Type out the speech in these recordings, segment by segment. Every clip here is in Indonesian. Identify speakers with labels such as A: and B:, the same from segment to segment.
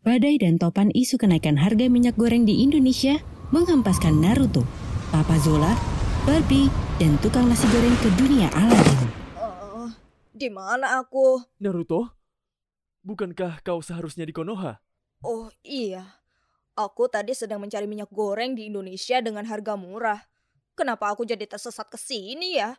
A: Badai dan topan isu kenaikan harga minyak goreng di Indonesia menghempaskan Naruto, Papa Zola, Barbie, dan tukang nasi goreng ke dunia Aladdin.
B: Eh, di mana aku?
C: Naruto, bukankah kau seharusnya di Konoha?
B: Oh iya, aku tadi sedang mencari minyak goreng di Indonesia dengan harga murah. Kenapa aku jadi tersesat ke sini ya?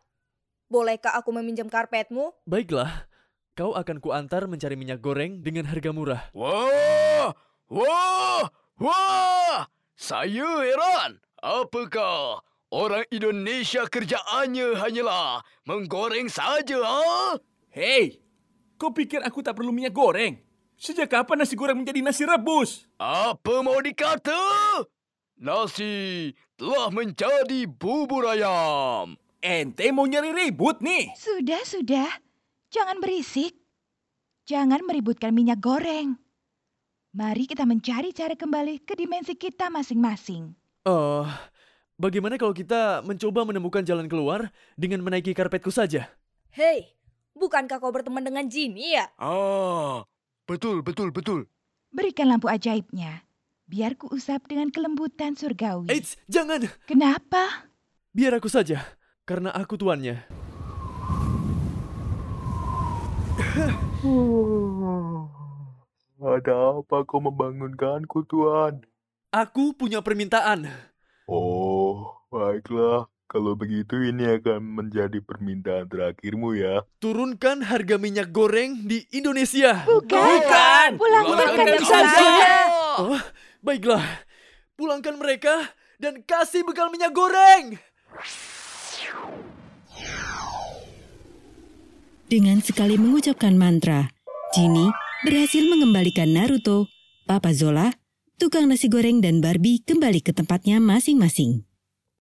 B: Bolehkah aku meminjam karpetmu?
C: Baiklah, kau akan kuantar mencari minyak goreng dengan harga murah.
D: Wah, wah, wah. Saya heran. Apakah orang Indonesia kerjaannya hanyalah menggoreng saja, ha?
E: Hei, kau pikir aku tak perlu minyak goreng? Sejak kapan nasi goreng menjadi nasi rebus?
D: Apa mau dikata? Nasi telah menjadi bubur ayam.
E: Ente mau nyari ribut nih?
F: Sudah, sudah. Jangan berisik. Jangan meributkan minyak goreng. Mari kita mencari cara kembali ke dimensi kita masing-masing.
C: Eh, bagaimana kalau kita mencoba menemukan jalan keluar dengan menaiki karpetku saja?
B: Hei, bukankah kau berteman dengan Jimmy ya?
D: Ah, betul, betul, betul.
F: Berikan lampu ajaibnya. Biar ku usap dengan kelembutan surgawi.
C: Eits, jangan!
F: Kenapa?
C: Biar aku saja, karena aku tuannya.
G: Ada apa kau membangunkanku, Tuan?
C: Aku punya permintaan.
G: Oh, baiklah. Kalau begitu ini akan menjadi permintaan terakhirmu ya.
C: Turunkan harga minyak goreng di Indonesia.
E: Bukan!
F: Pulangkan
D: Pulangkan
F: kami
D: kami
F: saja.
C: Oh, baiklah. Pulangkan mereka dan kasih bekal minyak goreng.
A: Dengan sekali mengucapkan mantra, Jinny berhasil mengembalikan Naruto, Papa Zola, tukang nasi goreng dan Barbie kembali ke tempatnya masing-masing.